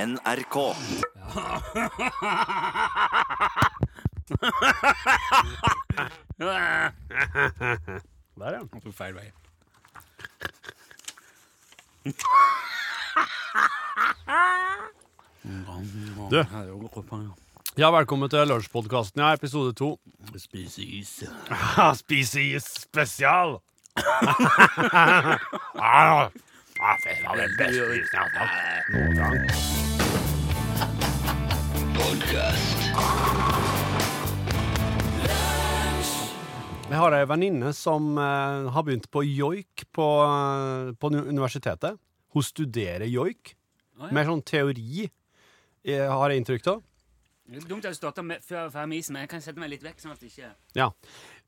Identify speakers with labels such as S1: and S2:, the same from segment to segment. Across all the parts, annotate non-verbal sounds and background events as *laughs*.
S1: NRK.
S2: Der, ja.
S3: Han tok feil vei.
S2: Du.
S3: Du.
S2: ja, velkommen til lunsjpodkasten, ja, episode to.
S3: Spise is.
S2: Spise is spesial! Jeg har ei venninne som eh, har begynt på joik på, eh, på nu- universitetet. Hun studerer joik.
S3: Å, ja.
S2: Mer sånn teori, eh, har jeg inntrykk av.
S3: Dumt at du starta med, før før med isen, men jeg kan sette meg litt vekk. sånn at det ikke...
S2: Ja.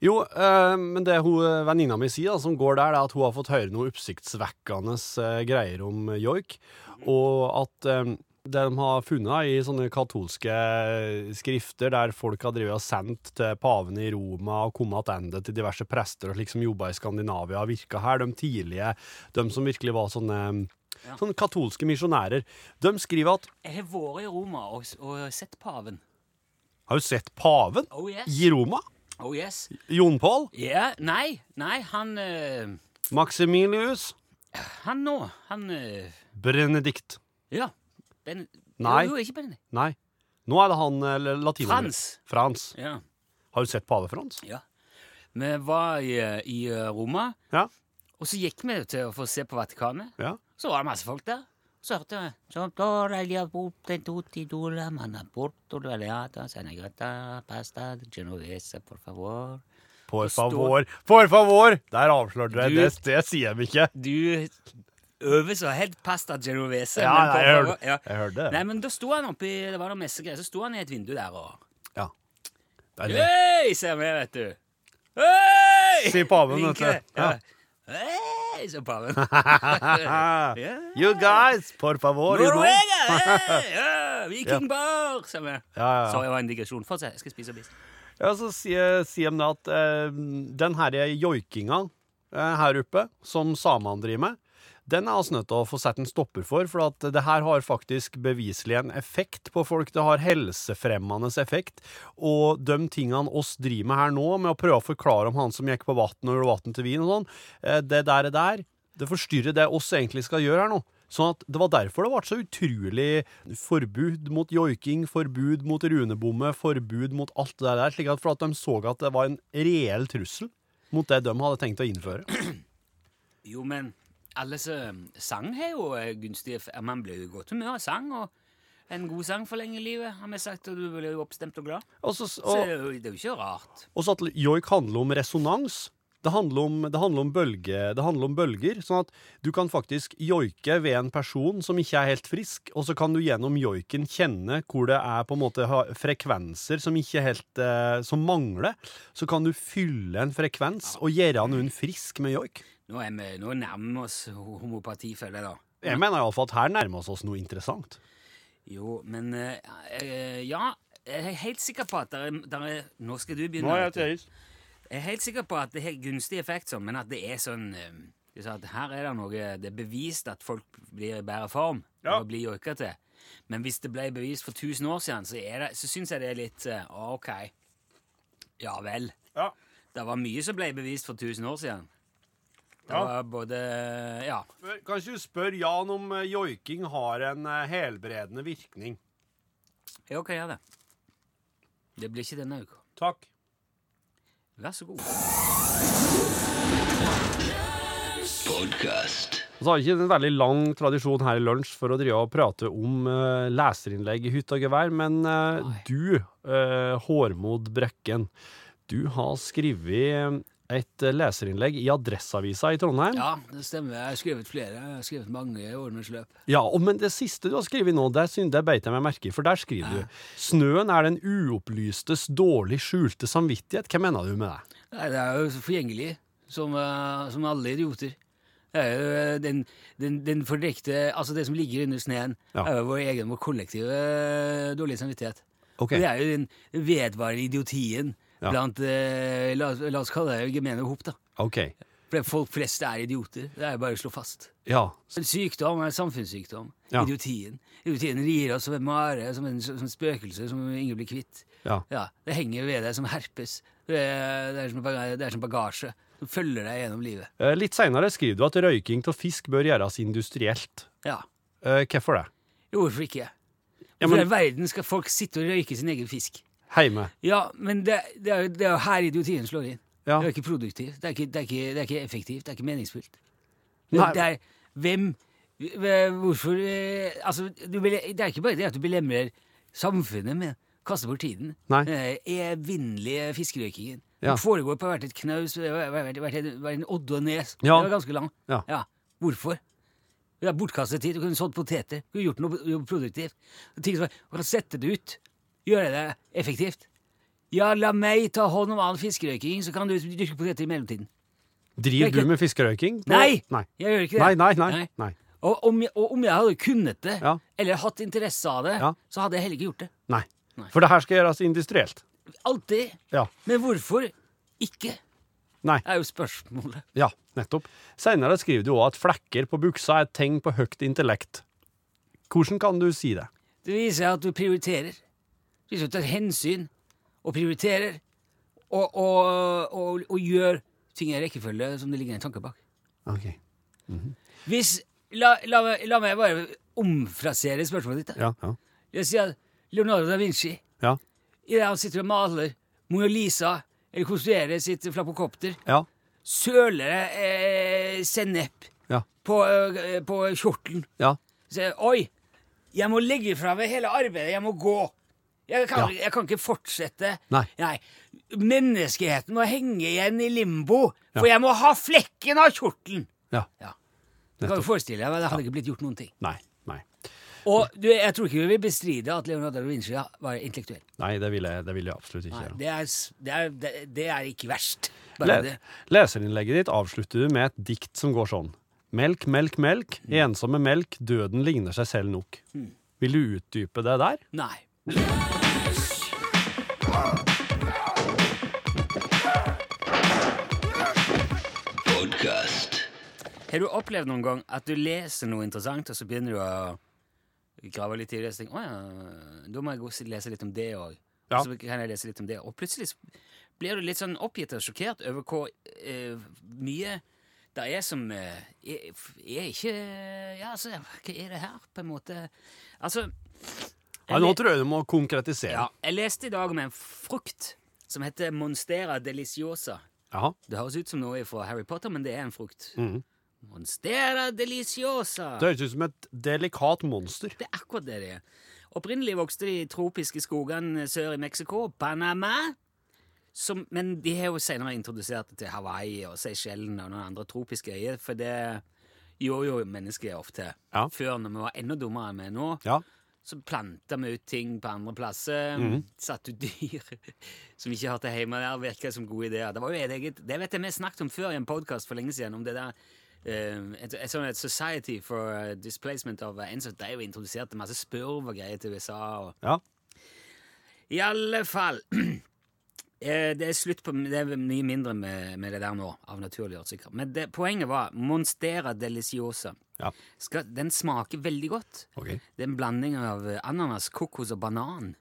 S2: Jo, eh, men det hun, eh, venninna mi sier, da, som går der, det er at hun har fått høre noe oppsiktsvekkende eh, greier om eh, joik. Og at eh, det de har funnet da, i sånne katolske eh, skrifter, der folk har drevet og sendt til paven i Roma og kommet tilbake til diverse prester og slik som jobba i Skandinavia og virka her, de tidlige, de som virkelig var sånne,
S3: Ja.
S2: sånne katolske misjonærer, de skriver at
S3: Jeg har vært i Roma og, s- og sett paven.
S2: Har du sett paven
S3: Oh yes.
S2: i Roma?
S3: Oh yes.
S2: Jon Pål?
S3: Ja, nei, nei, han eh,
S2: Maximilius?
S3: Han nå. Han eh,
S2: Benedikt?
S3: Ja. Ben,
S2: Nei.
S3: Jo, jo, ikke Benedikt.
S2: Nei. Nå er det han eh, latiner.
S3: Frans.
S2: Frans.
S3: Ja.
S2: Har du sett pave Frans?
S3: ja. Vi var i, eh, i eh, Roma,
S2: Ja.
S3: og så gikk vi til å få se på Vatikanet.
S2: ja.
S3: Så var det masse folk der. Så hørte jeg «Så går jeg litt bort til tutti dula, manna porto doliata, senegata, pasta, genovese, por favor.
S2: Por
S3: Det står-
S2: favor. Por favor! Der avslørte dere.
S3: Du-
S2: Det, det sier de ikke.
S3: Du øver så helt pasta genovese.
S2: Ja,
S3: men
S2: nei,
S3: por
S2: jeg
S3: favor-
S2: hørte- jeg hørte det.
S3: Nei, men da sto han oppi Det var noen messegreier. Så sto han i et vindu der og
S2: Ja. Det
S3: *laughs*
S2: er det. *laughs*
S3: Hei, ser vi, vet du. Hei!
S2: Sier paven, vet du.
S3: Vinker. Ja.
S2: Ja.
S3: Hei, sier
S2: *laughs*
S3: paven.
S2: Ah,
S3: Ja.
S2: You guys, por favor. you know.
S3: Norvegia! Hei! Ja, Vikingbar! Ser vi.
S2: Ja, ja,
S3: Sorry,
S2: ja.
S3: det var en digresjon. Fortsett. Jeg skal spise biff.
S2: ja, så sier, sier de det at eh, den her joikinga eh, her oppe, som samene driver med, den er vi nødt til å få sett en stopper for, for at det her har faktisk beviselig en effekt på folk. Det har helsefremmende effekt. Og de tingene oss driver med her nå, med å prøve å forklare om han som gikk på vann og gjorde vann til vin og sånn, eh, det der er der, det forstyrrer det oss egentlig skal gjøre her nå. Sånn at Det var derfor det ble så utrolig forbud mot joiking, forbud mot runebomme, forbud mot alt det der, slik at for at de så at det var en reell trussel mot det de hadde tenkt å innføre.
S3: Jo, men alle som sang har jo eh, gunstig eff- Man blir jo i godt humør av sang, og en god sang forlenger livet, har vi sagt, og du blir jo oppstemt og glad.
S2: *clears throat* Og så,
S3: Så
S2: og,
S3: det er jo- det er jo ikke rart.
S2: Og så at joik handler om resonans. Det handler om, det, handler om bølge, det handler om bølger. Sånn at du kan faktisk joike ved en person som ikke er helt frisk, og så kan du gjennom joiken kjenne hvor det er på en måte ha- frekvenser som ikke helt eh, Som mangler. Så kan du fylle en frekvens og gjøre noen frisk med joik.
S3: Nå, er vi, nå nærmer vi oss ho- homopati, føler jeg, da.
S2: Jeg mener iallfall at her nærmer vi oss noe interessant.
S3: Jo, men eh, eh, Ja, jeg er helt sikker på at der er, der er Nå skal du begynne. vet du. Jeg er helt sikker på at det har gunstig effekt, sånn, men at det er sånn eh, du sa at Her er det noe Det er bevist at folk blir i bedre form
S2: Ja.
S3: og blir joika til. Men hvis det ble bevist for 1000 år siden, så, er det- så syns jeg det er litt eh, ah, OK. Ja vel.
S2: Ja.
S3: Det var mye som ble bevist for 1000 år siden. Det
S2: Ja.
S3: var både Ja.
S2: Kanskje du spør Jan om eh, joiking har en eh, helbredende virkning.
S3: Ja, OK, gjør det. Det blir ikke denne uka.
S2: Takk.
S3: Vær så god.
S2: Og så har vi ikke en veldig lang tradisjon her i lunsj for å drive og prate om eh, leserinnlegg i hytt og gevær, men eh,
S3: Nei.
S2: du, eh, Hårmod Brekken, du har skrevet et eh, leserinnlegg i Adresseavisa i Trondheim. Ja.
S3: Ja, det stemmer. Jeg har skrevet flere. Jeg har skrevet mange i årenes løp.
S2: og, men det siste du har skrevet nå, det, syn- det beit jeg meg merke i, for der skriver du Snøen er den uopplystes dårlig skjulte samvittighet. Hva mener du med det?
S3: Nei, det er jo så forgjengelig, som, eh, som alle idioter. Det er jo eh, den, den, den fordrekte Altså, det som ligger under sneen,
S2: Ja.
S3: er jo vår egen, vår kollektive eh, dårlige samvittighet.
S2: Ok.
S3: Det er jo den vedvarende idiotien
S2: Ja.
S3: blant eh, la, oss- la oss kalle det gemene hop, da.
S2: Ok.
S3: For folk fleste er idioter. Det er jo bare å slå fast.
S2: Ja.
S3: En sykdom er en samfunnssykdom.
S2: Ja.
S3: Idiotien. Idiotien rir oss som en mare, som en som et spøkelse som ingen blir kvitt.
S2: ja.
S3: Ja, Det henger ved deg som herpes. Det er, det er, som, baga- det er som bagasje. Som følger deg gjennom livet.
S2: Eh, Litt seinere skriver du at røyking av fisk bør gjøres industrielt.
S3: Ja.
S2: Eh, Hvorfor det?
S3: Jo, hvorfor ikke?
S2: Ja,
S3: Hvorfor
S2: men-
S3: i all verden skal folk sitte og røyke sin egen fisk?
S2: Heime.
S3: Ja, men det, det, er, jo- det er jo her idiotien slår inn.
S2: Ja.
S3: Det er ikke produktivt. Det er ikke, det er ikke, det er ikke effektivt. Det er ikke meningsfullt. Det,
S2: Nei.
S3: det er hvem hve- Hvorfor eh, Altså, du, bele- det er ikke bare det at du belemrer samfunnet med å kaste bort tiden.
S2: Nei.
S3: Den evinnelige fiskerøykingen.
S2: Ja.
S3: Den foregår på hvert et knaus, det har vært- vært en- vært en odde og nes.
S2: Ja.
S3: Det var ganske lang.
S2: Ja.
S3: Hvorfor? Det er bortkastet tid. Du kunne sådd poteter. Du kunne gjort noe noe produktivt. Ting som, du kan sette det ut. Gjøre det effektivt. Ja, la meg ta hånd om all fiskerøyking, så kan du dyrke poteter i mellomtiden.
S2: Driver
S3: Røyking.
S2: du med fiskerøyking? på-
S3: Nei!
S2: Nei.
S3: Jeg gjør ikke det.
S2: Nei, nei, nei. nei.
S3: Og om, jeg, og om jeg hadde kunnet det,
S2: Ja.
S3: eller hatt interesse av det,
S2: Ja.
S3: så hadde jeg heller ikke gjort det.
S2: nei.
S3: Nei.
S2: For det her skal gjøres industrielt.
S3: Alltid.
S2: Ja.
S3: Men hvorfor ikke?
S2: Nei.
S3: er jo spørsmålet.
S2: Ja, nettopp. Seinere skriver du òg at flekker på buksa er et tegn på høyt intellekt. Hvordan kan du si det?
S3: Det viser at du prioriterer. Du viser at du tar hensyn og prioriterer. Og, og, og, og gjør ting i rekkefølge som det ligger en tanke bak.
S2: Ok.
S3: Hvis, la, la, meg- la meg bare omfrasere spørsmålet ditt. da.
S2: Ja. Ja.
S3: Jeg sier at Leonardo da Vinci
S2: Ja.
S3: i det han sitter og maler Mona Lisa eller konstruerer sitt flapokopter,
S2: ja.
S3: søler det, eh, sennep
S2: ja.
S3: på, eh, på kjortelen.
S2: ja.
S3: Så jeg, Oi, jeg må legge fra meg hele arbeidet, jeg må gå. Jeg kan,
S2: Ja.
S3: jeg kan ikke fortsette.
S2: Nei.
S3: Menneskeheten må henge igjen i limbo, for
S2: Ja.
S3: jeg må ha flekken av kjortelen!
S2: ja.
S3: Ja. Du kan jo forestille deg, men det hadde ikke blitt gjort noen ting.
S2: Nei. Nei.
S3: Og du, jeg tror ikke vi vil bestride at Leonardo da Vinci var intellektuell.
S2: Nei, det vil jeg, det vil jeg absolutt ikke
S3: Nei,
S2: gjøre.
S3: det, er, s- det, er, det, det er ikke verst. Bare
S2: Le
S3: det.
S2: leserinnlegget ditt avslutter du med et dikt som går sånn. Melk, melk, melk. Ensomme melk. Døden ligner seg selv nok. Vil du utdype det der?
S3: Nei. Har du opplevd noen gang at du leser noe interessant, og så begynner du å grave litt i det, og så tenker du, «Å ja, da må jeg gå og lese litt om det òg.
S2: Ja.
S3: Og så kan jeg lese litt om det. Og plutselig så blir du litt sånn oppgitt og sjokkert over hvor eh, mye det er som eh, er, er ikke Ja, altså, hva er det her, på en måte? Altså
S2: Ja, nå tror jeg du må konkretisere.
S3: ja, jeg leste i dag om en frukt som heter Monstera deliciosa.
S2: Jaha.
S3: Det høres ut som noe fra Harry Potter, men det er en frukt.
S2: Mhm.
S3: Monstera deliciosa!
S2: Det høres ut som et delikat monster.
S3: Det er akkurat det det er. Opprinnelig vokste de i tropiske skogene sør i Mexico, Panama. Som, men de har jo senere introdusert det til Hawaii og Seychellen og noen andre tropiske øyer, for det gjorde jo mennesker ofte.
S2: Ja.
S3: Før, når vi var enda dummere enn vi er nå,
S2: Ja.
S3: så planta vi ut ting på andre plasser. Satt ut dyr *laughs* som ikke hørte hjemme der. Virka som gode ideer. Det var jo et eget, det vet jeg vi snakket om før i en podkast for lenge siden. om det der, eh, et, et, sånn et Society for eh, Displacement of Enzo. De jo introduserte masse spurv og greier til USA. og
S2: Ja.
S3: i alle fall *clears throat* eh, Det er slutt på Det er mye mindre med, med det der nå, av naturlige årsaker. Men det, poenget var Monstera deliciosa.
S2: Ja.
S3: Skal, den smaker veldig godt.
S2: Ok.
S3: Det er en blanding av eh, ananas, kokos og banan.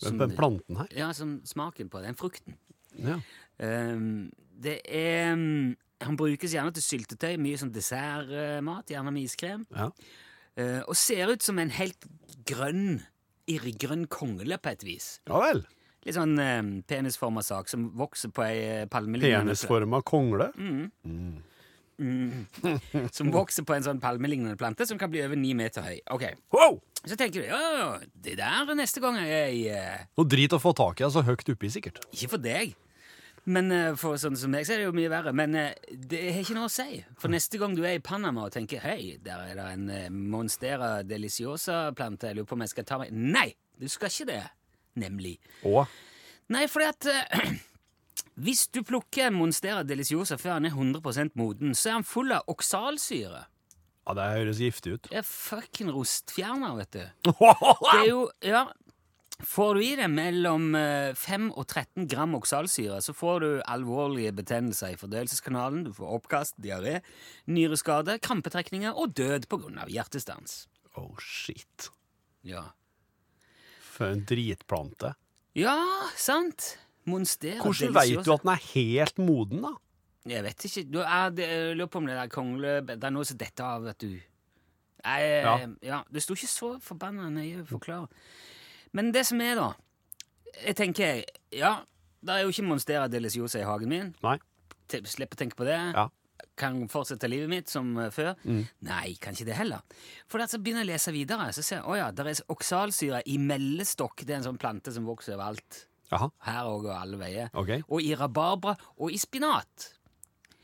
S2: Den, den planten her.
S3: Ja, som smaken på den frukten.
S2: Ja.
S3: Ehm, det er mm, Han brukes gjerne til syltetøy, mye som dessertmat, gjerne med iskrem.
S2: Ja.
S3: Eh, og ser ut som en helt grønn, irrgrønn kongle på et vis.
S2: ja vel.
S3: Litt sånn eh, penisforma sak som vokser på ei eh, palmelignende plante.
S2: Penisforma kongle.
S3: Som vokser på en sånn palmelignende plante som kan bli over ni meter høy. Ok,
S2: Wow!
S3: Så tenker du ja, det der er neste gang jeg eh,
S2: Noe drit å få tak i, altså høyt oppi sikkert.
S3: Ikke for deg, men eh, for sånn som meg så er det jo mye verre. Men eh, det har ikke noe å si. For neste gang du er i Panama og tenker hei, der er det en eh, Monstera deliciosa-plante, jeg lurer på om jeg skal ta meg Nei! Du skal ikke det. Nemlig.
S2: Å,
S3: Nei, fordi at eh, *clears throat* hvis du plukker Monstera deliciosa før han er 100 moden, så er han full av oksalsyre.
S2: ja, *laughs* det høres giftig ut.
S3: Det er fucking rostfjerner, vet du. Det
S2: Å,
S3: er jo Ja. Får du i deg mellom eh, 5 og 13 gram oksalsyre, så får du alvorlige betennelser i fordøyelseskanalen, du får oppkast, diaré, nyreskade, krampetrekninger og død pga. hjertestans.
S2: Oh shit.
S3: Ja.
S2: For en dritplante.
S3: ja, sant? Monstera
S2: Hvordan
S3: deliciosa.
S2: vet du at den er helt moden, da?
S3: Jeg vet ikke. Du, jeg, det- jeg lurer på om det der kongle... Det er noe som detter av, vet du. Jeg, ja.
S2: Ja.
S3: Det sto ikke så forbanna nøye forklart. Men det som er, da Jeg tenker Ja, det er jo ikke Monstera deliciosa i hagen min.
S2: Nei.
S3: Te- Slipp å tenke på det.
S2: Ja.
S3: Kan fortsette livet mitt som eh, før. Nei, kan ikke det heller. For da så begynner jeg å lese videre, så ser jeg å ja, der er oksalsyre i mellestokk. Det er en sånn plante som vokser overalt.
S2: Jaha.
S3: Her òg og alle veier.
S2: Ok.
S3: Og i rabarbra og i spinat. *laughs*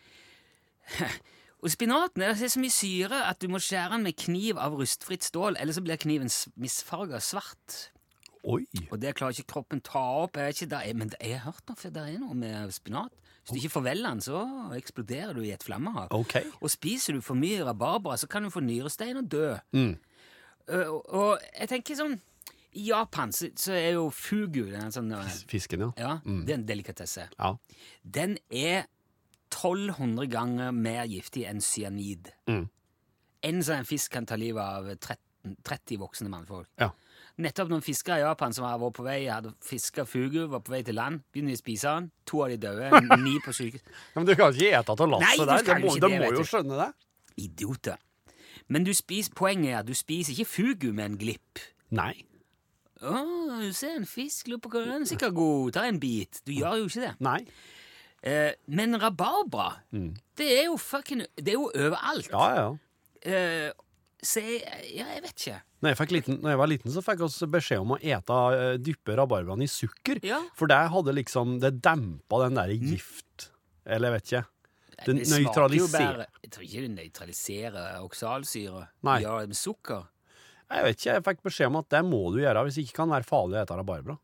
S3: og spinaten er det er så mye syre at du må skjære den med kniv av rustfritt stål, eller så blir kniven s- misfarga svart.
S2: Oi.
S3: Og det klarer ikke kroppen ta opp. Jeg vet ikke, der er, men jeg har hørt noe, for det er noe med spinat. Hvis du ikke forveller den, så eksploderer du i et flammehav.
S2: Ok.
S3: Og spiser du for mye rabarbra, så kan du få nyrestein og dø.
S2: Mm.
S3: Ø, og, og jeg tenker sånn I Japan så, så er jo fugu den er sånn, ø,
S2: Fisken, ja.
S3: ja, Det er en delikatesse.
S2: Ja.
S3: Den er 1200 ganger mer giftig enn cyanid.
S2: Mm.
S3: En sånn fisk kan ta livet av 13, 30 voksne mannfolk.
S2: Ja.
S3: Nettopp noen fiskere i Japan som var på vei, hadde fiska fugu, var på vei til land, begynner de å spise den. To av de døde, ni på sykehus.
S2: *laughs* Ja, Men du kan ikke ete av
S3: Nei, du
S2: lasset der.
S3: kan
S2: De må,
S3: ikke
S2: de
S3: det,
S2: må
S3: vet
S2: jo
S3: du.
S2: skjønne det.
S3: Idioter. Men du spiser, poenget er at du spiser ikke fugu med en glipp.
S2: Nei.
S3: Å, du ser en fisk, lurer på hva den er sikkert god, ta en bit. Du gjør jo ikke det.
S2: Nei.
S3: Eh, men rabarbra, det er jo fucking Det er jo overalt.
S2: Mm. Ja, ja, ja.
S3: Eh, så jeg, ja, jeg vet ikke.
S2: Når jeg, fikk liten, når jeg var liten, så fikk vi beskjed om å ete, eh, dyppe rabarbraen i sukker.
S3: Ja. Mm.
S2: For det hadde liksom Det dempa den der gift Eller jeg vet ikke. Den
S3: Det smaker jo
S2: nøytraliserer
S3: bare- Jeg tror ikke det nøytraliserer oksalsyre.
S2: Nei.
S3: Gjør det med sukker.
S2: Jeg vet ikke, jeg fikk beskjed om at det må du gjøre hvis ikke kan det være farlig å ete rabarbra.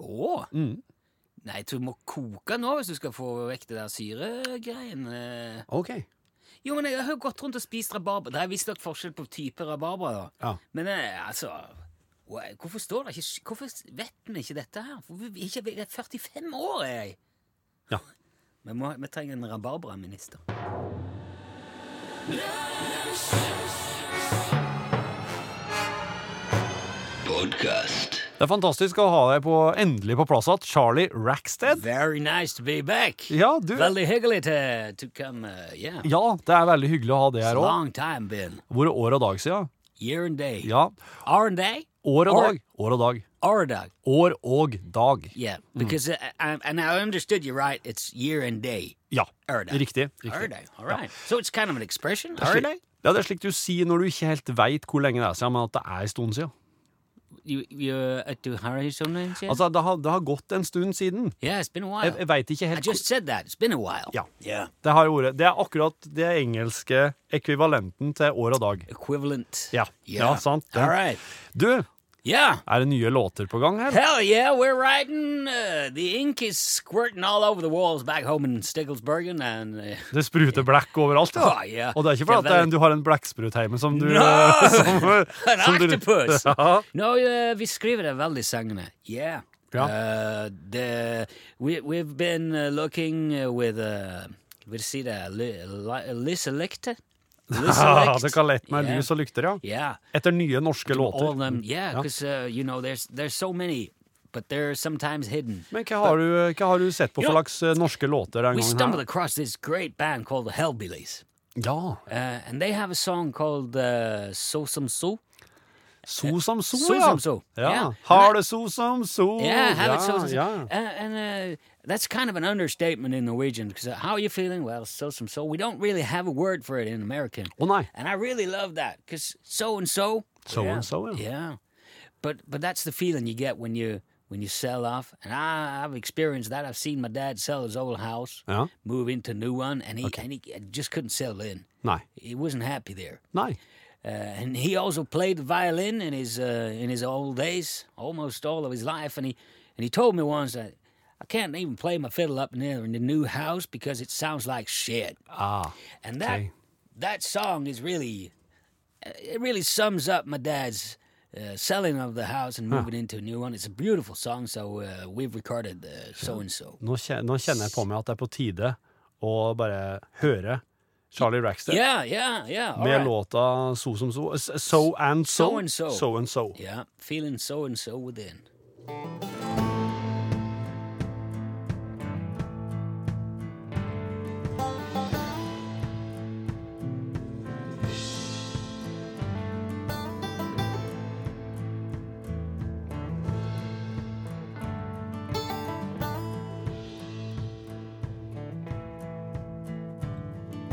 S3: Å!
S2: Mm.
S3: Nei, jeg tror du må koke nå hvis du skal få vekk det der syregreiene.
S2: Ok.
S3: Jo, men jeg har jo gått rundt og spist rabarbra. Det er visstnok forskjell på type rabarbra, da.
S2: Ja.
S3: Men eh, altså wha- Hvorfor står det ikke Hvorfor vet vi ikke dette her? Hvorfor vi ikke, jeg er 45 år, er jeg!
S2: Ja.
S3: Vi, må, vi trenger en rabarbraminister.
S1: Podcast.
S2: Det er fantastisk å ha deg på, endelig på plass igjen, Charlie Rackstead.
S3: Very nice to be back.
S2: Ja, du
S3: Veldig hyggelig to, to come. Uh, yeah.
S2: Ja, det er veldig hyggelig å ha deg her òg.
S3: Long time been.
S2: Vært år og dag siden.
S3: Year and day.
S2: Ja.
S3: Hour and day?
S2: År og
S3: År-
S2: dag. År og dag.
S3: Hour and day.
S2: År og dag.
S3: Yeah. Because, uh, I, and I understood you right, it's year and day.
S2: Ja.
S3: År og dag.
S2: Riktig.
S3: Hour
S2: riktig.
S3: and day. All right. So it's kind of an expression.
S2: Det er
S3: Hour and
S2: slik-
S3: day?
S2: Ja, det er slik du sier når du ikke helt veit hvor lenge det er siden, men at det er en stund siden.
S3: You, you, uh, do hurry sometimes? Yeah?
S2: Altså, det har, det har gått en stund siden.
S3: yeah, it's been a while.
S2: Jeg, jeg veit ikke
S3: I
S2: helt
S3: just said that. It's been a while.
S2: Ja.
S3: Yeah.
S2: hvor- Det har ordet. Det er akkurat det engelske ekvivalenten til år og dag.
S3: Equivalent.
S2: Ja.
S3: Yeah.
S2: Ja, sant, det.
S3: All right.
S2: Du,
S3: Yeah.
S2: er det nye låter på gang her?
S3: Hell yeah, we're riding. Uh, the ink is squirting all over the walls back home in Stigglesbergen, and uh,
S2: Det spruter blekk overalt, ja.
S3: Ah, ja.
S2: Og det er ikke fordi at
S3: Det er
S2: det er
S3: veldig-
S2: en- du har en blekksprut hjemme som du *laughs*
S3: No!
S2: som,
S3: an
S2: som du-
S3: octopus.
S2: Ja.
S3: No, uh, vi skriver det veldig sangene. Yeah.
S2: Ja.
S3: Uh, the, we, we've been uh, looking uh, with, uh, vil si det, Li- Li-
S2: *laughs*
S3: Lisa Lichter?
S2: Ah,
S3: Lisa
S2: det kan lett med
S3: Yeah.
S2: lys og lykter, ja.
S3: Yeah.
S2: Etter nye norske
S3: All of
S2: låter.
S3: them, yeah,
S2: Ja.
S3: because, uh, you know, there's, there's so many, but they're sometimes hidden.
S2: Men hva har du, hva har du sett på
S3: You
S2: for
S3: know,
S2: slags eh, norske låter den
S3: We stumbled
S2: gangen her?
S3: across this great band called the Hellbillies,
S2: Ja.
S3: uh, and they have a song called uh, So Some So.
S2: So som so,
S3: So
S2: ja.
S3: som so,
S2: ja.
S3: ja.
S2: Har det so som so.
S3: Yeah, have it so. so-
S2: ja.
S3: Uh, and uh, that's kind of an understatement in Norwegian because how are you feeling? Well, so some so. We don't really have a word for it in American,
S2: Å nei.
S3: and I really love that because so and so.
S2: So and so, ja.
S3: Yeah, but but that's the feeling you get when you when you sell off, and I, I've experienced that. I've seen my dad sell his old house,
S2: Ja.
S3: move into a new one, and he and he uh, just couldn't sell in.
S2: Nei.
S3: He wasn't happy there.
S2: Nei.
S3: Uh, and he also played the violin in his uh, in his old days, almost all of his life. And he and he told me once that I can't even play my fiddle up in there in the new house because it sounds like shit.
S2: Ah.
S3: And that
S2: Okay.
S3: that song is really uh, it really sums up my dad's uh, selling of the house and moving into a new one. It's a beautiful song, so uh, we've recorded uh, so and so.
S2: Nå kje- nå kjenner jeg på meg at det er på tide å bare høre Charlie Rackstead
S3: Yeah, yeah, yeah. all
S2: med
S3: right.
S2: låta So som so, S- so and so.
S3: So and so.
S2: so, and so.
S3: Yeah, feeling so and so within.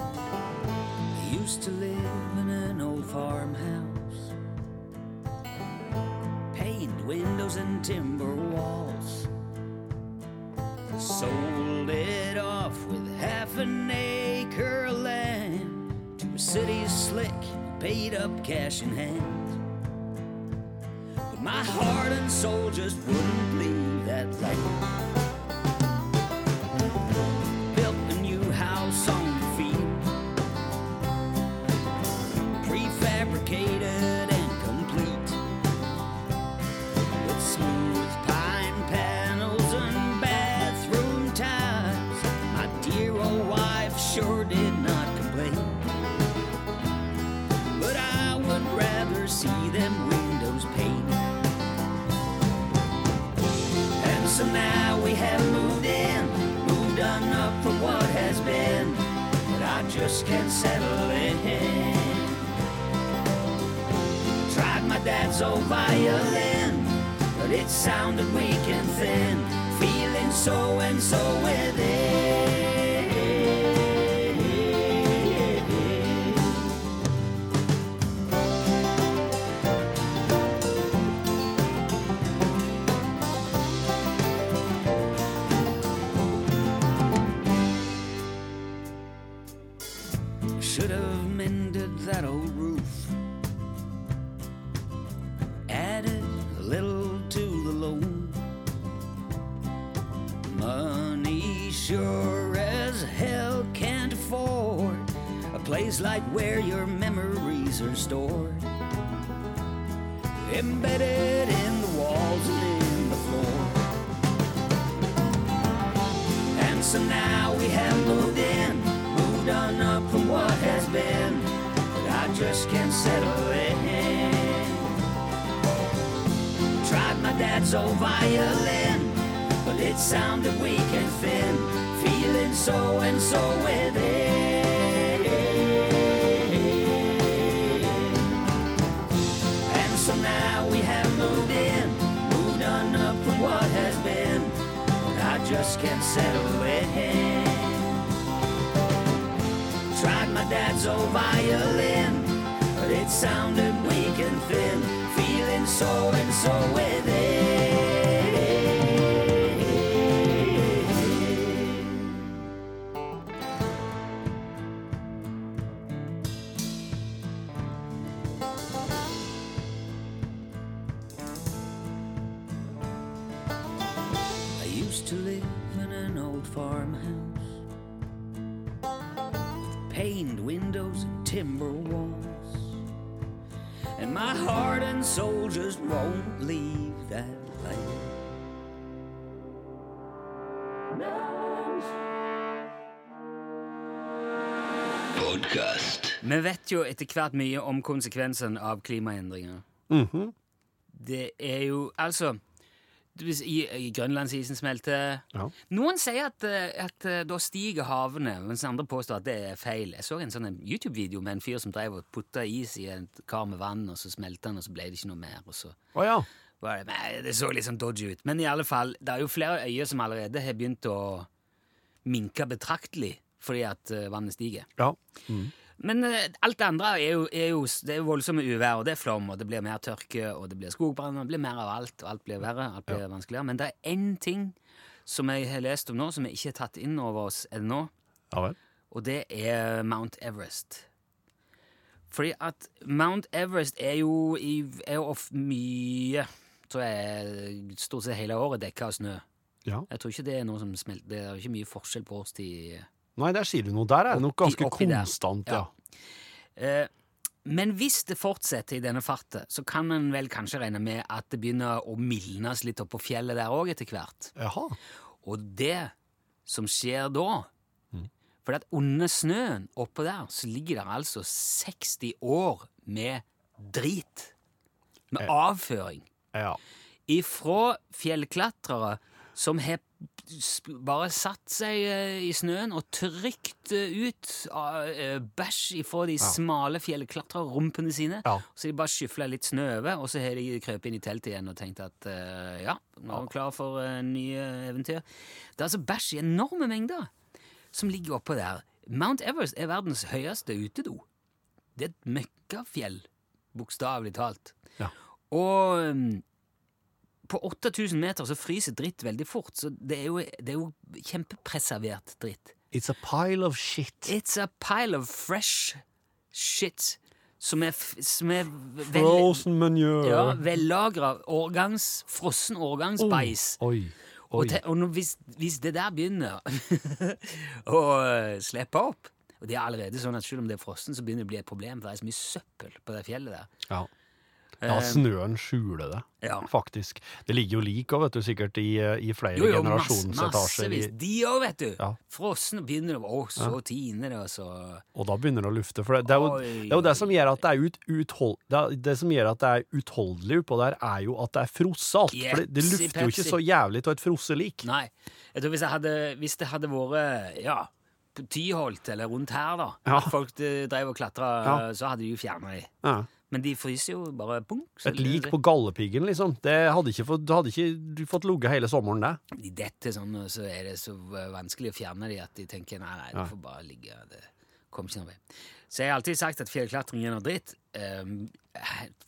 S3: I used to live in an old farmhouse painted windows and timber walls. Sold it off with half an acre of land to a city slick, paid up cash in hand. But my heart and soul just wouldn't leave that land. Built a new house on the field, prefabricated and complete with smooth pine panels and bathroom tiles. My dear old wife sure did not complain. But I would rather see them windows painted. And so now we have moved in, moved on up from what has been. But I just can't settle in. Tried my dad's old violin, but it sounded weak and thin. Feeling so and so within. Should have mended that old roof added a little to the loan. Money sure as hell can't afford a place like where your memories are stored. Embedded in the walls and in the floor. And so now we have moved in, moved on up from what has been. But I just can't settle in. Tried my dad's old violin, but it sounded weak and thin. Feeling so and so within. And so now we have moved in, moved on up from what has been. But I just can't settle in. Tried my dad's old violin, but it sounded weak and thin. Feeling so and so within. I used to live in an old farmhouse paned windows and timber walls. And my heart and soul just won't leave that land.
S1: Podcast.
S3: Vi vet jo etter hvert mye om konsekvensen av klimaendringer. Det er jo Altså hvis- i, i Grønlandsisen smelter.
S2: Ja.
S3: Noen sier at, eh, at eh, da stiger havene, mens andre påstår at det er feil. Jeg så en sånn en YouTube-video med en fyr som drev og putta is i et kar med vann, og så smelta han, og så ble det ikke noe mer. og så...
S2: Å ja.
S3: Var det, nei, det så litt sånn dodgy ut. Men i alle fall, det er jo flere øyer som allerede har begynt å minke betraktelig fordi at eh, vannet stiger.
S2: ja.
S3: Men eh, alt det andre er jo, er jo det er jo voldsomme uvær, og det er flom, og det blir mer tørke, og det blir skogbrann, og det blir mer av alt, og alt blir verre, alt blir vanskeligere. Men det er én ting som jeg har lest om nå, som jeg ikke har tatt inn over oss ennå,
S2: Ja vel.
S3: og det er Mount Everest. Fordi at Mount Everest er jo, i, er jo of mye tror jeg, Stort sett hele året dekka av snø.
S2: Ja.
S3: Jeg tror ikke det er noe som smelter. Det er jo ikke mye forskjell på årstid.
S2: Nei, der sier du noe. Der er det nok
S3: Oppi-
S2: ganske
S3: oppi der.
S2: konstant, ja.
S3: Eh, Men hvis det fortsetter i denne farten, så kan en vel kanskje regne med at det begynner å mildnes litt oppå fjellet der òg etter hvert.
S2: Jaha.
S3: Og det som skjer da For at under snøen oppå der så ligger det altså 60 år med drit. Med avføring.
S2: Ja.
S3: Ifra fjellklatrere som har sp- bare satt seg eh, i snøen og trykt eh, ut ah, eh, bæsj ifra de smale fjellklatrerrumpene sine.
S2: Ja.
S3: Så de bare skyfla litt snø over, og så har de krøpet inn i teltet igjen og tenkt at eh, ja, nå er vi klar for eh, nye eventyr. Det er altså bæsj i enorme mengder som ligger oppå der. Mount Everest er verdens høyeste utedo. Det er et møkkafjell, bokstavelig talt.
S2: Ja.
S3: Og mm, på 8000 meter så fryser dritt veldig fort, så det er jo, det er jo kjempepreservert dritt.
S2: It's a pile of shit.
S3: It's a pile of fresh shit som er, f- som er vel,
S2: Frozen manure.
S3: ja, vellagra årgangs, frossen årgangsbeis.
S2: Oh, Oi. Oh, Oi.
S3: Og, te, og når, hvis, hvis det der begynner *laughs* å eh, slippe opp Og det er allerede sånn at selv om det er frossen, så begynner det å bli et problem, for det er så mye søppel på det fjellet der. Eh,
S2: Ja. ja, snøen skjuler det,
S3: Ja.
S2: faktisk. Det ligger jo lik òg, vet du, sikkert i, eh, i flere
S3: Jo, jo, mass,
S2: generasjonsetasjer.
S3: massevis.
S2: i-
S3: De òg, vet du!
S2: Ja.
S3: Frossen begynner å Å, så tiner det, og så
S2: Og da begynner det å lufte. For det, det, er, jo,
S3: Oi.
S2: det er jo det som gjør at det er, ut, uthold, det, er, det som gjør at det er utholdelig oppå der, er jo at det er frossalt. For det, det
S3: Jepsi
S2: lufter jo ikke
S3: pepsi.
S2: så jævlig av et frosselik.
S3: Nei. Jeg tror hvis, jeg hadde, hvis det hadde vært ja, på Tyholt eller rundt her, da,
S2: Ja.
S3: at folk eh, drev og klatra,
S2: Ja.
S3: eh, så hadde de jo fjerna de.
S2: Ja.
S3: Men de fryser jo bare punk. så
S2: Et
S3: det-
S2: lik på gallepiggen, liksom. Det hadde ikke fått, det hadde ikke fått ligget hele sommeren, det.
S3: de detter sånn, og så er det så vanskelig å fjerne de at de tenker nei, nei, det får bare ligge. Det kommer ikke noe vei. Så jeg har alltid sagt at fjellklatring er noe dritt. Um,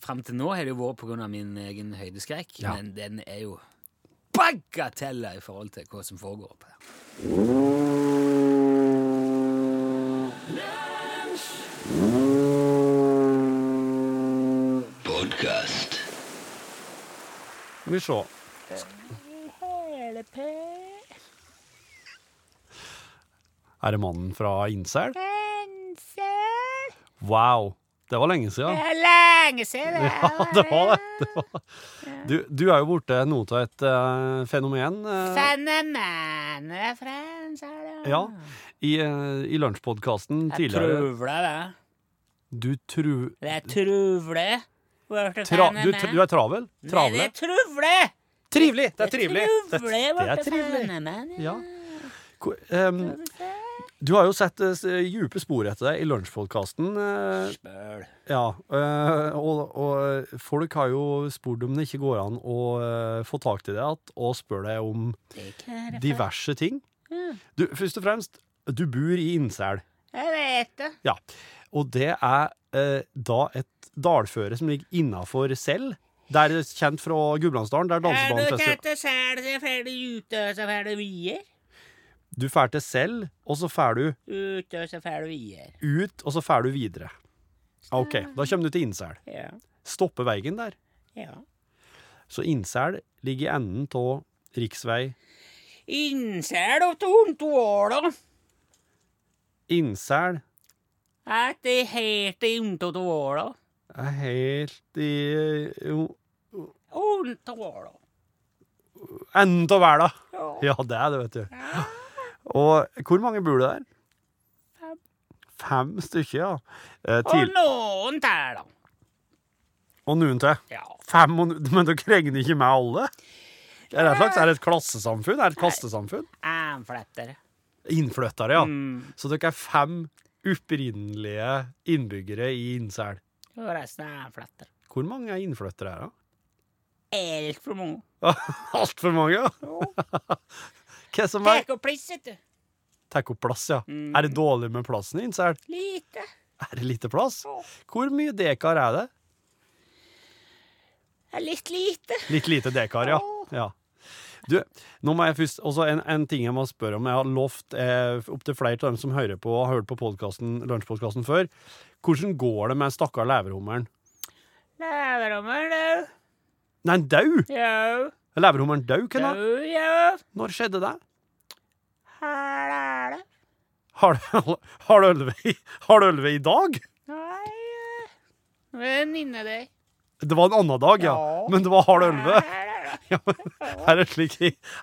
S3: Fram til nå har det jo vært på grunn av min egen høydeskrekk,
S2: Ja.
S3: men den er jo bagatella i forhold til hva som foregår oppe her.
S1: Podcast.
S2: Skal vi se. Er det mannen fra Incel?
S4: Pensel.
S2: Wow. Det var lenge siden.
S4: Det er lenge siden.
S2: Ja, *laughs* det var det. det var. Du, du er jo borte noe av et eh, fenomen. eh,
S4: Fenomenet Frans er det.
S2: ja, i, uh, i lunsjpodkasten tidligere.
S4: Truvle, det.
S2: Du tru...
S4: Det er truvle. Vart det
S2: Tra, du,
S4: fenomen?
S2: tr- du er travel?
S4: Nei,
S2: Travle?
S4: det er truvle.
S2: Trivelig! Det er
S4: Truvle
S2: trivelig! Det, det
S4: vart
S2: er
S4: det
S2: trivelig.
S4: fenomen,
S2: Ja. Ko- ehm, du har jo sett eh, s- djupe spor etter deg i lunsjpodkasten. eh,
S3: Spøl.
S2: ja, eh, og, og folk har jo spurt om det ikke går an å eh, få tak til deg igjen, og spør deg om diverse ting. Du, først og fremst, du bor i Innsel.
S4: Jeg vet det.
S2: Ja. Og det er eh, da et dalføre som ligger innafor selv. Det er kjent fra Gudbrandsdalen. Det er
S4: Er du
S2: dansebanefestival.
S4: tatt og sel, så fer du ute, og så fer du vier.
S2: Du fær til selv, og så fær du
S4: Ute, og så fer du vier.
S2: ut, og så fær du videre. Ja, OK, da kommer du til Innsel.
S4: Ja.
S2: Stopper veien der.
S4: ja.
S2: Så Innsel ligger i enden av riksvei
S4: Innsel og tontåla.
S2: Innsel
S4: At det er helt i untåla.
S2: er helt i jo,
S4: Untåla.
S2: enden av verda.
S4: Ja.
S2: Ja, det er det, vet du. Og hvor mange bor det der?
S4: Fem.
S2: Fem stykker, ja. Eh,
S4: Og
S2: til,
S4: noen der, da.
S2: og noen til.
S4: Ja.
S2: Fem og, nu- men dere regner ikke med alle? Er det, et slags, er det et klassesamfunn? Er det et kastesamfunn?
S4: Æmfletter.
S2: Innflyttere, ja.
S4: Mm.
S2: Så dere er fem opprinnelige innbyggere i Innsel.
S4: Og resten er æmfletter.
S2: Hvor mange er innflyttere her, da?
S4: Altfor mange.
S2: *laughs* Altfor mange, ja. Hva som er
S4: Tek og pliss, vet du.
S2: Tar opp plass, ja. Er det dårlig med plassen i Innsel?
S4: Lite.
S2: Er det lite plass? Hvor mye dekar er det?
S4: Ja, Litt lite.
S2: Litt lite dekar, ja. ja. Du, nå må jeg først, også en, en ting jeg må spørre om. Jeg har lovt eh, opptil flere av dem som hører på, og har hørt på podcasten, lunsjpodkasten før. Hvordan går det med stakkar leverhummeren?
S4: Leverommer, du.
S2: Nei, han dau!
S4: Jau.
S2: Er Leverhummeren dau, hvem da?
S4: Jau, jau.
S2: Når skjedde det?
S4: Her er det.
S2: *laughs* Har du har du ølve i har du ølve i dag?
S4: Nei, eh, Venninne deg.
S2: Det var en annen dag, ja. Men det var halv elleve. *laughs* Ja, men her er slik,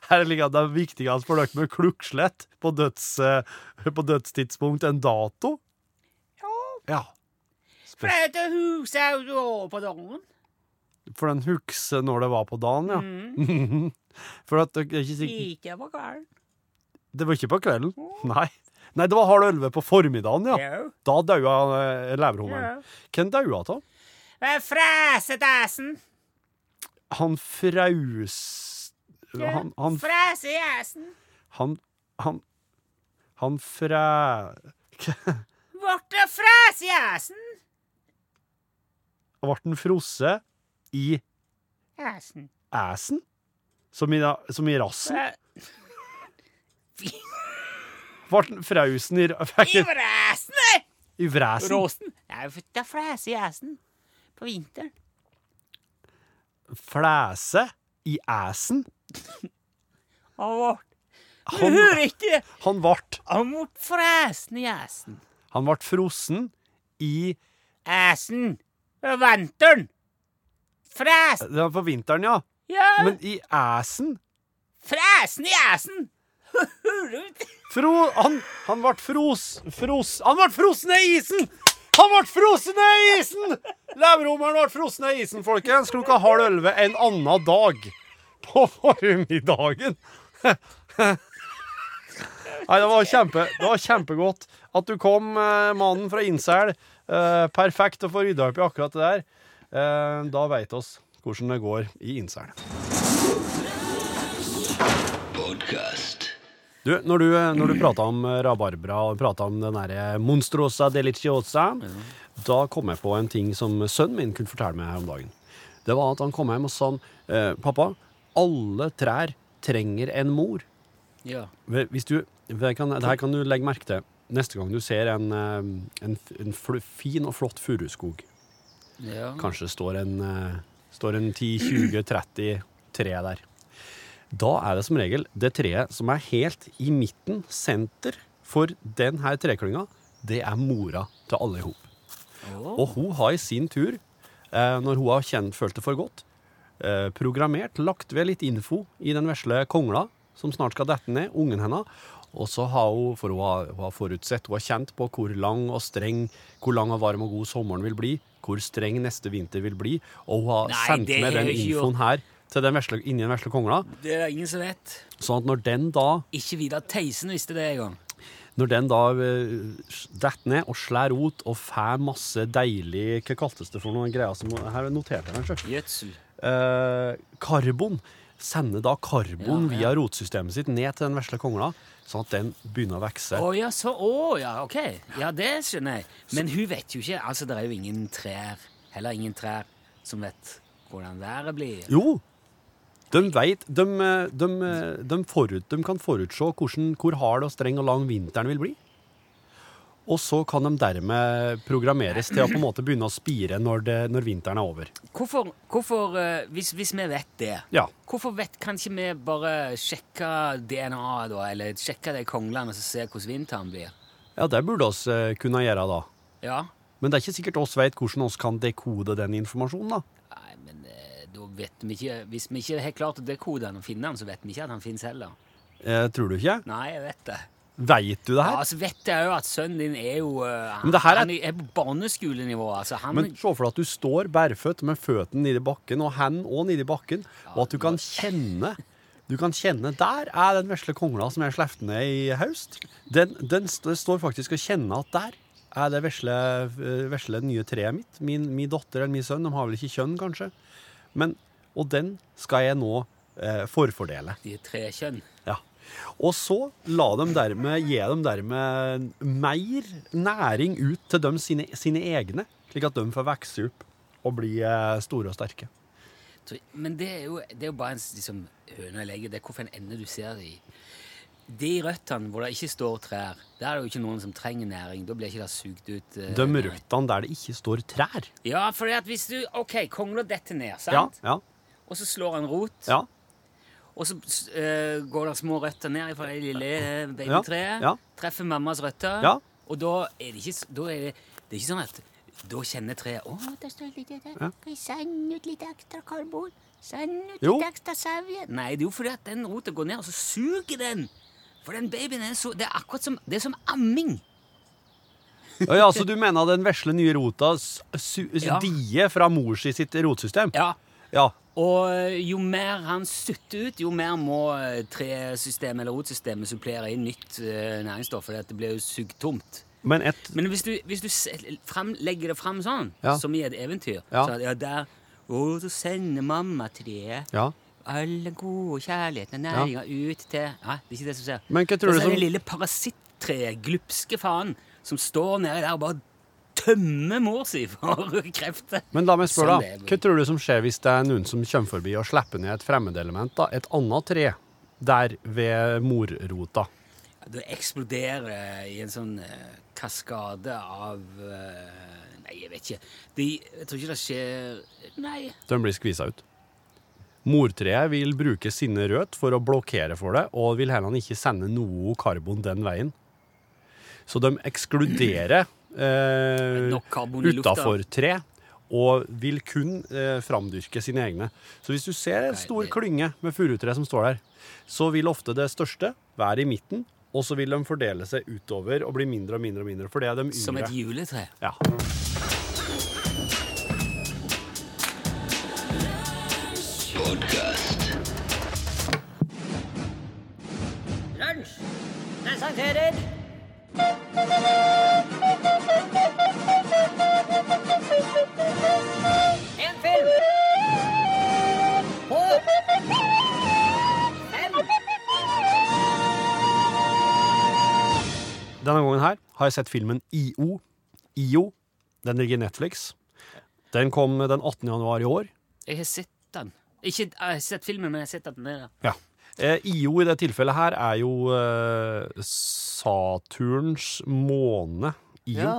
S2: her er slik at det er viktigst for dere med klukkslett på, døds, eh, på dødstidspunkt enn dato. Ja. Spes-
S4: Fløy til huset og du over på dongen.
S2: For den husker når det var på dagen, ja. Mm. *laughs* For at dere er ikke sikre
S4: Ikke på kvelden.
S2: Det var ikke på kvelden. Nei. Nei, det var halv elleve på formiddagen, ja.
S4: Jo.
S2: Da daua eh, leverhummeren. Hvem daua av?
S4: Men Fræsetassen.
S2: Han fraus... Han, han
S4: Fræse i assen.
S2: Han Han Han fræ...
S4: Borte fræs i assen.
S2: Ble han frosset i
S4: Assen.
S2: æsen? Som i, da- som i rassen? Ble han frausen i ra- *laughs* fikk
S4: I
S2: han-
S4: vræsen!
S2: I vræsen?
S4: Råsen. Nei, det er fræs i assen. På vinteren.
S2: Flæse i æsen?
S4: Og vårt. Du
S2: Han,
S4: hører ikke!
S2: han ble
S4: Han mot fræsen i assen.
S2: Han ble frossen i
S4: Assen. Og vanteren. Fræs.
S2: Det var på vinteren, ja.
S4: Ja,
S2: Men i æsen?
S4: fræsen i assen. *laughs* Hører du ikke?
S2: Fro... Han, han ble fros... Fros... Han ble frossen i isen! Han ble frossen i isen! Leverhummeren ble frossen i isen, folkens, klokka halv elleve en annen dag. På formiddagen. Nei, det var, kjempe, det var kjempegodt at du kom, eh, mannen fra Innsel. Eh, perfekt å få rydda opp i akkurat det der. Eh, da veit oss hvordan det går i Innsel.
S1: Podcast.
S2: Du, når du, når du prata om eh, rabarbra og prata om den derre monstrosa deliciosa, da kom jeg på en ting som sønnen min kunne fortelle meg her om dagen. Det var at han kom hjem og sa eh, Pappa, alle trær trenger en mor.
S3: Ja.
S2: Hvis du, det, kan, det her kan du legge merke til neste gang du ser en, eh, en, f- en fl fin og flott furuskog.
S3: ja.
S2: Kanskje det står en, eh, står en 10-20-30 tre der. Da er det som regel det treet som er helt i midten, senter, for den her treklynga, det er mora til alle i hop. Og hun har i sin tur, eh, når hun har kjent, følt det for godt, eh, programmert, lagt ved litt info i den vesle kongla, som snart skal dette ned, ungen hennes. Og så har hun, for hun har, hun har forutsett, hun har kjent på hvor lang og streng, hvor lang og varm og god sommeren vil bli, hvor streng neste vinter vil bli, og hun har
S3: Nei,
S2: sendt
S3: det
S2: med
S3: har
S2: den
S3: jeg ikke
S2: infoen her til den vesle, inni den vesle kongla,
S3: Det er det ingen som vet.
S2: sånn at når den da
S3: Ikke Vidar Theisen visste det engang.
S2: Når den da eh, detter ned og slår rot og får masse deilig Hva kaltes det for noen greier som Her noterte jeg meg sjøl.
S3: Gjødsel.
S2: Eh, karbon. Sender da karbon
S3: Ja,
S2: via
S3: ja.
S2: rotsystemet sitt ned til den vesle kongla, sånn at den begynner å vokse.
S3: Å ja, så Å ja, OK. Ja, det skjønner jeg. Men hun vet jo ikke. Altså, det er jo ingen trær, heller ingen trær, som vet hvordan været blir.
S2: Jo! De veit de, eh, de, eh, de, forut, de kan forutse hvordan, hvor hard og streng og lang vinteren vil bli. Og så kan de dermed programmeres til å på en måte begynne å spire når, det, når vinteren er over.
S3: Hvorfor, hvorfor eh, hvis, hvis vi vet det,
S2: Ja.
S3: hvorfor vet kan ikke vi bare sjekke DNA, da, eller sjekke det i konglene og så se hvordan vinteren blir?
S2: Ja, det burde oss eh, kunne gjøre da.
S3: Ja.
S2: Men det er ikke sikkert oss vet hvordan oss kan dekode den informasjonen da.
S3: Nei, men eh, da vet vi ikke Hvis vi ikke har klart å dekode han og finne han, så vet vi ikke at han finnes heller.
S2: Eh, tror du ikke?
S3: Nei, jeg vet det.
S2: Vet du det
S3: Ja,
S2: her?
S3: altså vet jeg jo at sønnen din er jo eh,
S2: Men det her er-
S3: Han er på barneskolenivå. Altså, han
S2: Men se for deg at du står bærføtt med føttene nede i bakken, og hendene også nede i bakken, og at du kan kjenne du kan kjenne, Der er den vesle kongla som jeg slepte ned i høst. Den, den st står faktisk å kjenne at der er det vesle, eh, vesle nye treet mitt. Min, min datter eller min sønn, de har vel ikke kjønn, kanskje. Men, og den skal jeg nå eh, forfordele.
S3: De er tre kjønn.
S2: Ja. Og så la dem dermed, gi dem dermed mer næring ut til dem sine, sine egne, slik at de får vokse opp og bli eh, store og sterke.
S3: Så, men det er, jo, det er jo bare en s- liksom, høne og legge. Det er hvorfor en ende du ser det i. De røttene hvor det ikke står trær, der er det jo ikke noen som trenger næring. Da blir ikke det sugd ut eh,
S2: De
S3: næring.
S2: røttene der det ikke står trær.
S3: Ja, for at hvis du OK, kongla detter ned,
S2: Ja,
S3: sant?
S2: ja,
S3: Og så slår han rot.
S2: ja,
S3: Og så eh, går det små røtter ned fra det lille eh, babytreet.
S2: Ja, ja.
S3: Treffer mammas røtter.
S2: Ja.
S3: Og da er det ikke, s- da er det, det er ikke sånn at Da kjenner treet Å,
S5: Å, det står litt der. Skal vi sende ut litt ekstra karbon? Send ut
S2: Jo.
S5: litt ekstra savjen?
S3: Nei, det er jo fordi at den roten går ned, og så suger den. For den babyen er så Det er akkurat som, det er som amming.
S2: Ja, ja, så du mener den vesle nye rota s- su
S3: Ja.
S2: dier fra mors i sitt rotsystem?
S3: Ja.
S2: Ja.
S3: Og eh, jo mer han sutter ut, jo mer må eh, tresystemet eller rotsystemet supplere inn nytt eh, næringsstoff, for det blir jo sugd tomt.
S2: Men et
S3: Men hvis du, hvis du s- frem, legger det fram sånn,
S2: Ja.
S3: som i et eventyr
S2: Ja.
S3: så, at, ja, der, Å, så sender mamma treet
S2: Ja.
S3: all den gode kjærligheten og næringa ut til Ja, det er ikke det som skjer.
S2: Men hva tror
S3: Da
S2: du
S3: så er
S2: som-
S3: det lille parasittreet, glupske faen, som står nedi der og bare tømmer mor si for krefter.
S2: Men la meg spørre,
S3: Sånn
S2: da.
S3: det er.
S2: Hva tror du som skjer hvis det er noen som kommer forbi og slipper ned et fremmedelement, da? Et annet tre der ved morrota?
S3: Det eksploderer i en sånn eh, kaskade av eh, Nei, jeg vet ikke. De, jeg tror ikke det skjer Nei.
S2: De blir skvisa ut. Mortreet vil bruke sine rødt for å blokkere for det, og vil heller ikke sende noe karbon den veien. Så de ekskluderer eh,
S3: Nok karbon i lufta.
S2: utafor tre, og vil kun eh, framdyrke sine egne. Så hvis du ser en stor
S3: det-
S2: klynge med furutre som står der, så vil ofte det største være i midten, og så vil de fordele seg utover og bli mindre og mindre og mindre, for det er de yngre.
S3: Som et juletre.
S2: Ja.
S1: Podcast.
S4: Lunsj presenterer En film på fem
S2: Denne gangen her har jeg sett filmen IO. IO, den ligger i Netflix. Den kom den 18. januar i år.
S3: Jeg har sett den. Ikke, jeg har sett filmen, men jeg har sett at den er der.
S2: Eh, IO i det tilfellet her er jo eh, Saturns måne. IO. Ja.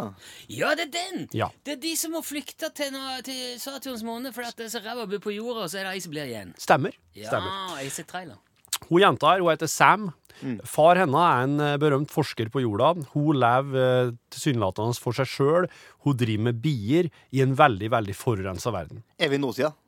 S3: Ja, det er den!
S2: Ja.
S3: Det er de som må flykte til, nå- til Saturns måned fordi at det er så ræva å bo på jorda, og så er det ei som blir igjen.
S2: Stemmer.
S3: Ja,
S2: Stemmer.
S3: jeg har sett trailer.
S2: Hun jenta her, hun heter Sam. Far henne er en eh, berømt forsker på jorda. Hun lever eh, tilsynelatende for seg sjøl. Hun driver med bier i en veldig veldig forurensa verden.
S6: Er vi i nåtida? Er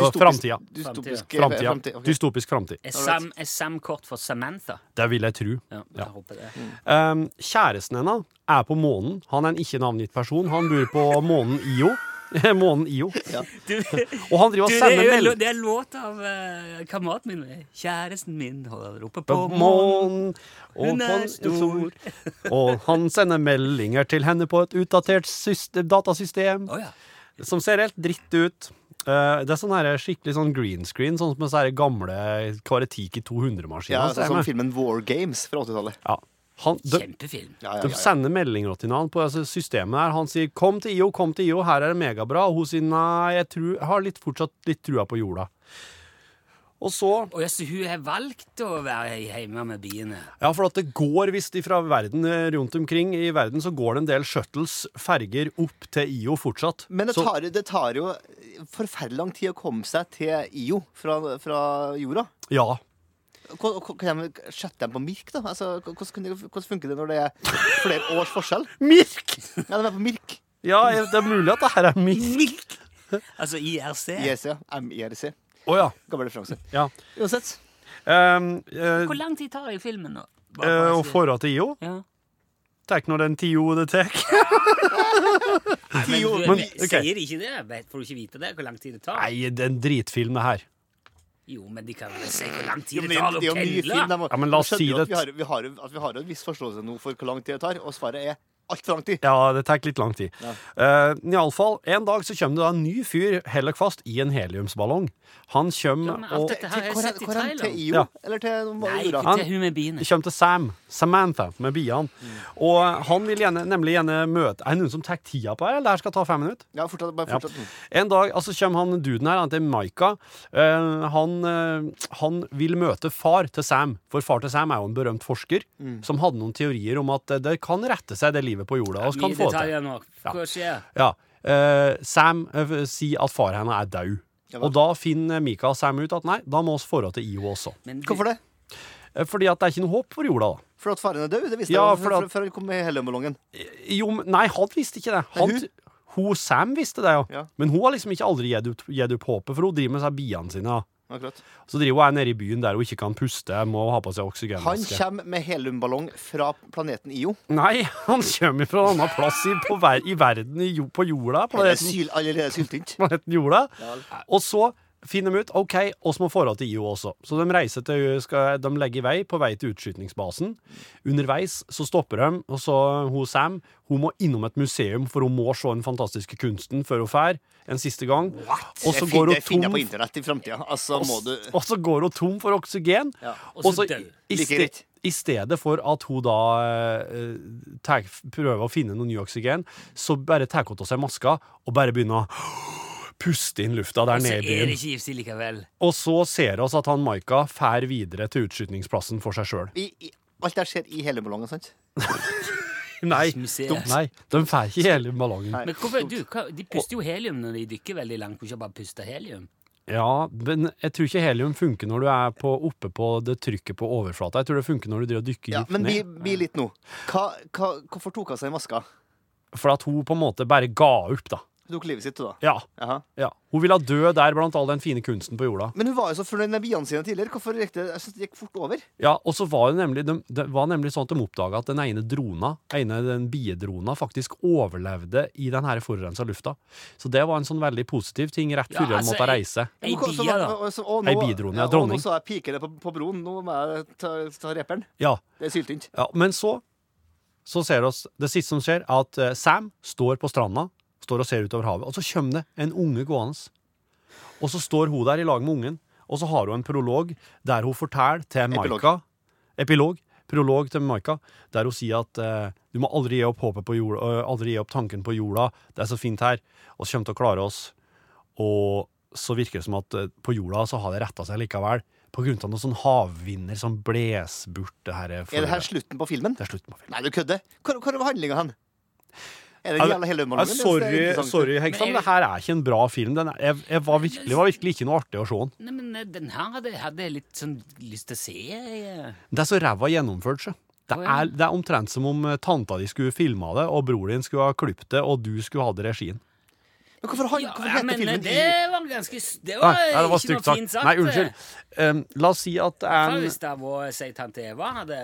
S2: Ja, framtida.
S6: Dystopisk
S2: Framtida.
S6: framtida, ok.
S2: Dystopisk framtid.
S3: Er Sam, er Sam kort for Samantha?
S2: Det vil jeg tro.
S3: Ja,
S2: Ja.
S3: jeg håper det.
S2: Um, kjæresten hennes er på månen. Han er en ikke-navngitt person. Han bor på månen IO. *laughs* månen IO. Og han driver og
S3: Du, det, er
S2: sender
S3: jo, en lå-
S2: meldinger
S3: det er en låt av eh, kameraten min. Kjæresten min holder oppe på
S2: på
S3: månen.
S2: månen. og
S3: Hun
S2: på
S3: er
S2: en
S3: stor.
S2: Og han sender meldinger til henne på et utdatert syste- datasystem
S3: Å ja.
S2: som ser helt dritt ut. Eh, det er sånn her skikkelig sånn green screen, sånn som med sånne gamle Kvaretiki 200-maskiner.
S6: Ja, sånn som filmen War Games fra 80-tallet.
S2: ja. Han, de,
S3: Kjempefilm.
S6: Ja, ja,
S2: De
S6: ja, ja.
S2: sender meldinger til hverandre på altså, systemet her. Han sier 'kom til IO, kom til IO, her er det megabra'. Og hun sier 'nei, jeg, tror, jeg har litt, fortsatt litt trua på jorda'. Og så
S3: Og ja, så hun har valgt å være hjemme med biene.
S2: Ja, for at det går visst fra verden eh, rundt omkring i verden, så går det en del shuttles, ferger, opp til IO fortsatt.
S6: Men det
S2: så,
S6: tar, det tar jo forferdelig lang tid å komme seg til IO fra, fra jorda.
S2: Ja.
S6: Hva- hva- Kan de sette dem på Mirk, da? Altså, hva- hvordan, kunne- hvordan funker det når det er flere års forskjell?
S2: Mirk!
S6: Ja, de er på Mirk.
S2: *laughs* Ja, jeg- det er mulig at det her er mirk.
S3: Altså IRC.
S6: IRC, ja. MIRC.
S2: Å ja.
S6: Gammel referanse.
S2: ja.
S6: Uansett.
S2: Um, eh,
S3: Hvor lang tid tar det i filmen nå? Bare
S2: eh,
S3: for å
S2: og
S3: si-
S2: forholdet til IO
S3: ja.
S2: tar nå den tida det tar.
S3: Men,
S6: år,
S3: du,
S2: men-
S3: men,
S2: ok.
S3: Sier de ikke det? Vet- Får du ikke vite det? Hvor lang tid det
S2: *laughs*
S3: tar?
S2: Nei, det er en dritfilm, det her.
S3: Jo, men de kan vel se hvor lang
S6: Jo,
S3: tid
S6: men
S3: det tar å
S6: det er jo mye film.
S3: pendle.
S6: de må-
S2: Ja, men la oss
S6: de skjønner
S2: si
S6: jo at Vi
S2: det.
S6: har, vi, har, at vi har en viss forståelse nå for hvor lang tid det tar, og svaret er altfor lang tid.
S2: Ja, det tar litt lang tid.
S6: Ja.
S2: Eh, i alle fall, en dag så kommer det da en ny fyr, heller kvast, i en heliumsballong. Han
S3: Ja,
S2: kommer
S3: men
S2: og
S3: alt dette her har
S6: Hvor
S3: jeg
S6: er-
S3: sett i
S6: hvor er han?
S3: traileren.
S6: Til IO?
S2: Ja.
S6: Eller til
S3: Nei,
S6: jorda?
S3: ikke til hun med biene.
S2: Vi kommer til Sam, Samantha, med biene.
S3: Mm.
S2: Og han vil gjerne, nemlig gjerne møte Er det noen som tar tida på her, eller det her skal ta fem minutter?
S6: Ja, fortsatt, bare
S2: Ja.
S6: fortsatt.
S2: En dag altså kommer han duden her, han heter Maika. Eh, han, eh, han vil møte far til Sam, for far til Sam er jo en berømt forsker
S3: Mm.
S2: som hadde noen teorier om at eh, det kan rette seg, det livet på jorda. Og kan
S3: Mye
S2: få det til.
S3: detaljer nå. Hva skjer?
S2: Ja. Eh, Sam eh, sier at far henne er død.
S6: Ja vel.
S2: Og da finner Mika og Sam ut at nei, da må vi dra til IO også.
S3: Men du-
S6: Hvorfor det?
S2: Eh, Fordi at det er ikke noe håp for jorda, da.
S6: For at faren er død? Det visste
S2: Ja,
S6: jeg
S2: for
S6: jo
S2: at-
S6: før- før han kom med heliumballongen.
S2: Jo, men- nei, han visste ikke det. Han,
S6: Nei,
S2: hun? Hun Sam visste det, jo.
S6: Ja.
S2: Men hun har liksom ikke aldri gitt opp, gitt opp håpet, for hun driver med seg biene sine. da.
S6: Akkurat.
S2: Så driver hun her nede i byen der hun ikke kan puste, må ha på seg
S6: Han
S2: oksygenmaske.
S6: kommer med heliumballong fra planeten Io.
S2: Nei, *laughs* han kommer fra en annen plass i, på ver i verden, i, jo- på jorda.
S6: Det er
S2: Planeten
S6: syl,
S2: *laughs*
S6: allerede syltynt.
S2: planeten jorda. Og så finner de ut OK, oss må forhold til IO også. Så de reiser til skal, De legger i vei på vei til utskytningsbasen. Underveis så stopper de, og så hun Sam hun må innom et museum, for hun må se den fantastiske kunsten før hun drar en siste gang. Og så
S6: Det fin-
S2: går
S6: det
S2: hun
S6: finner jeg på
S2: tom
S6: internett i framtida. Altså, må du
S2: *laughs* og så går hun tom for oksygen.
S6: Ja.
S3: Og så
S2: i,
S3: dør.
S2: i,
S6: Like
S2: ste,
S6: greit.
S2: I stedet for at hun da eh, tar- prøver å finne noe ny oksygen, så bare tar hun av seg maska og bare begynner å puste inn lufta der
S3: Så
S2: nede
S3: er
S2: i
S3: det
S2: byen.
S3: ikke giftig likevel.
S2: Og så ser oss at han Maika fær videre til utskytningsplassen for seg
S3: *laughs*
S2: sjøl.
S6: i, i, Alt det her skjer i heliumballongen, sant?
S2: Nei,
S3: Museet.
S2: de- nei, de fær ikke hele ballongen.
S6: Nei.
S3: Men hvorfor, du, hva, De puster jo helium når de dykker veldig langt. Hvorfor ikke bare puste helium?
S2: Ja, men jeg tror ikke helium funker når du er på, oppe på det trykket på overflata. Jeg tror det funker når du driver og dykker
S6: Ja,
S2: dypt
S6: men
S2: ned.
S6: bli, bli litt nå. Hva, hva, hvorfor tok hun seg maska?
S2: For at hun på en måte bare ga opp, da.
S6: Hun tok livet sitt, hun, da.
S2: Ja,
S6: Jaha.
S2: ja. Hun ville dø der blant all den fine kunsten på jorda.
S6: Men hun var jo så fornøyd med biene sine tidligere. Hvorfor gikk det, jeg synes det gikk fort over?
S2: Ja, og så var det nemlig, de, det var nemlig sånn at de oppdaga at den ene drona, ene, den biedrona, faktisk overlevde i den her forurensa lufta. Så det var en sånn veldig positiv ting rett
S3: Ja,
S2: før de
S3: altså,
S2: måtte reise.
S3: Ei
S6: Men hvorfor-
S3: bie,
S6: så-
S3: da.
S6: og- og så- og
S2: Ei
S6: nå-
S2: bidrone,
S6: ja,
S2: dronning.
S6: Og nå så jeg pikene på, på broen. Nå må jeg ta, ta reperen.
S2: Ja,
S6: Det er syltynt.
S2: ja Men så, så ser oss, det siste som skjer, er at eh, Sam står på stranda, står og ser utover havet, og så kommer det en unge gående. Og så står hun der i lag med ungen, og så har hun en prolog der hun forteller til
S6: Epilog.
S2: Maika Epilog. Prolog til Maika, der hun sier at eh, du må aldri gi opp håpet på jorda, eh, aldri gi opp tanken på jorda, det er så fint her, og kommer til å klare oss. Og så virker det som at eh, på jorda så har det retta seg likevel, på grunn av noen sånn havvinder som bles bort det her.
S6: Er det her slutten på filmen?
S2: Det er slutten på filmen.
S6: Nei, du kødder. Hvor, hvor var handlinga hen? Er det
S2: Ja, det-
S6: hele
S2: Nei,
S6: heliumballongen? Det synes jeg er
S2: sorry,
S6: interessant.
S2: sorry Hegstad, men det her er ikke en bra film. Den er, jeg, jeg var virkelig, var virkelig ikke noe artig å se den.
S3: Nei, men eh, Den her hadde hadde jeg litt sånn lyst til å se. eh. jeg.
S2: Det er så ræva gjennomført, sjø. Det
S3: Å, ja.
S2: er, det er omtrent som om eh, tanta di skulle filma det, og bror din skulle ha klippet det, og du skulle hatt regien.
S6: Men hvorfor, han,
S3: Ja,
S6: hvorfor heter
S3: men eh,
S6: filmen
S3: det
S6: I-
S3: var ganske s- Det
S2: Nei,
S3: var,
S2: nei, det var
S3: ikke
S2: stygt
S3: noe fint
S2: sagt.
S3: sagt. eh.
S2: Nei, unnskyld. Um, la oss si at det er en
S3: Faust av å si tante Eva hadde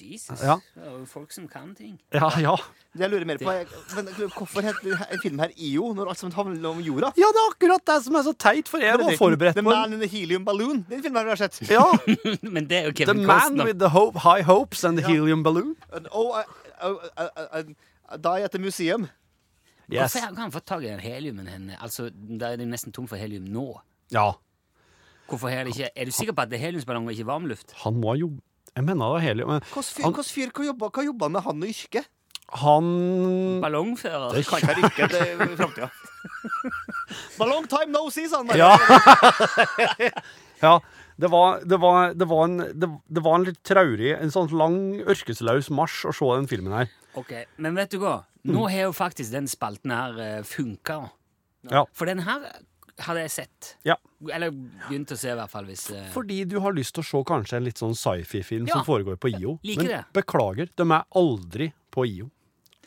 S3: Jesus.
S2: Ja.
S3: Det er jo folk som kan ting.
S2: Ja, ja.
S6: Det jeg lurer mer på, er men hvorfor heter denne filmen her IO, når alt sammen handler om jorda?
S2: Ja, det er akkurat det som er så teit, for jeg var forberedt
S6: The
S2: på en
S6: Man in the Helium Balloon. Den filmen har vi sett.
S2: ja, *laughs*
S3: Men det er jo
S2: The
S3: Kevin
S2: Man
S3: Costner.
S2: with the hope, High Hopes and the Helium Balloon.
S6: And, oh, I, I, I, I, I Die at the Museum.
S2: Yes.
S3: Hvorfor har han fått tak i den heliumen henne? Altså, Da er det jo nesten tom for helium nå.
S2: Ja,
S3: Hvorfor er det ikke Er du sikker på at det er heliumsballong og ikke varmluft?
S2: han må ha jobba Jeg mener det var helium. men
S6: Hvilken fyr,
S2: Han-
S6: hvilken fyr hva jobba, hva jobba han med han og yrke?
S2: Han
S3: Ballongfører?
S6: Det kan ikke være yrke til framtida. Ballong time no see, sa han.
S2: Ja. *laughs* ja. Det var, det, var, det, var en, det, det var en litt traurig, en sånn lang, ørkesløs marsj å se den filmen her.
S3: *laughs* Ok, Men vet du hva? Nå har jo faktisk den spalten her funka.
S2: Ja.
S3: For den her hadde jeg sett.
S2: Ja.
S3: Eller begynt å se, i hvert fall. hvis... eh,
S2: Fordi du har lyst til å se kanskje en litt sånn sci-fi-film
S3: Ja.
S2: som foregår på IO.
S3: Liker
S2: men
S3: det.
S2: beklager, de er aldri på IO.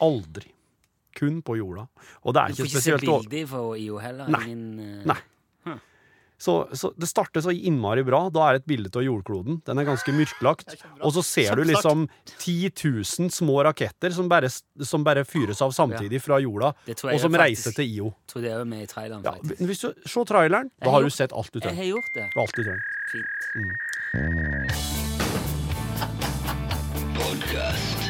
S2: Aldri. Kun på jorda. Og det
S3: Du
S2: er
S3: får
S2: ikke
S3: ikke se
S2: spesielt å-
S3: bilder fra IO heller.
S2: Nei.
S3: Ingen, eh,
S2: Nei. Så, så det starter så innmari bra. Da er det et bilde av jordkloden. Den er ganske mørklagt. Og så ser du liksom 10 000 små raketter som bare, som bare fyres av samtidig fra jorda,
S3: Det tror jeg
S2: og som
S3: faktisk.
S2: reiser til IO.
S3: Tror det er jo med i traileren,
S2: Ja,
S3: faktisk.
S2: hvis du ser traileren,
S3: Jeg
S2: da har
S3: gjorde-
S2: du sett alt du
S3: Jeg
S2: trenger.
S3: har gjort det.
S2: Alt du trenger.
S3: Fint.
S1: Podcast.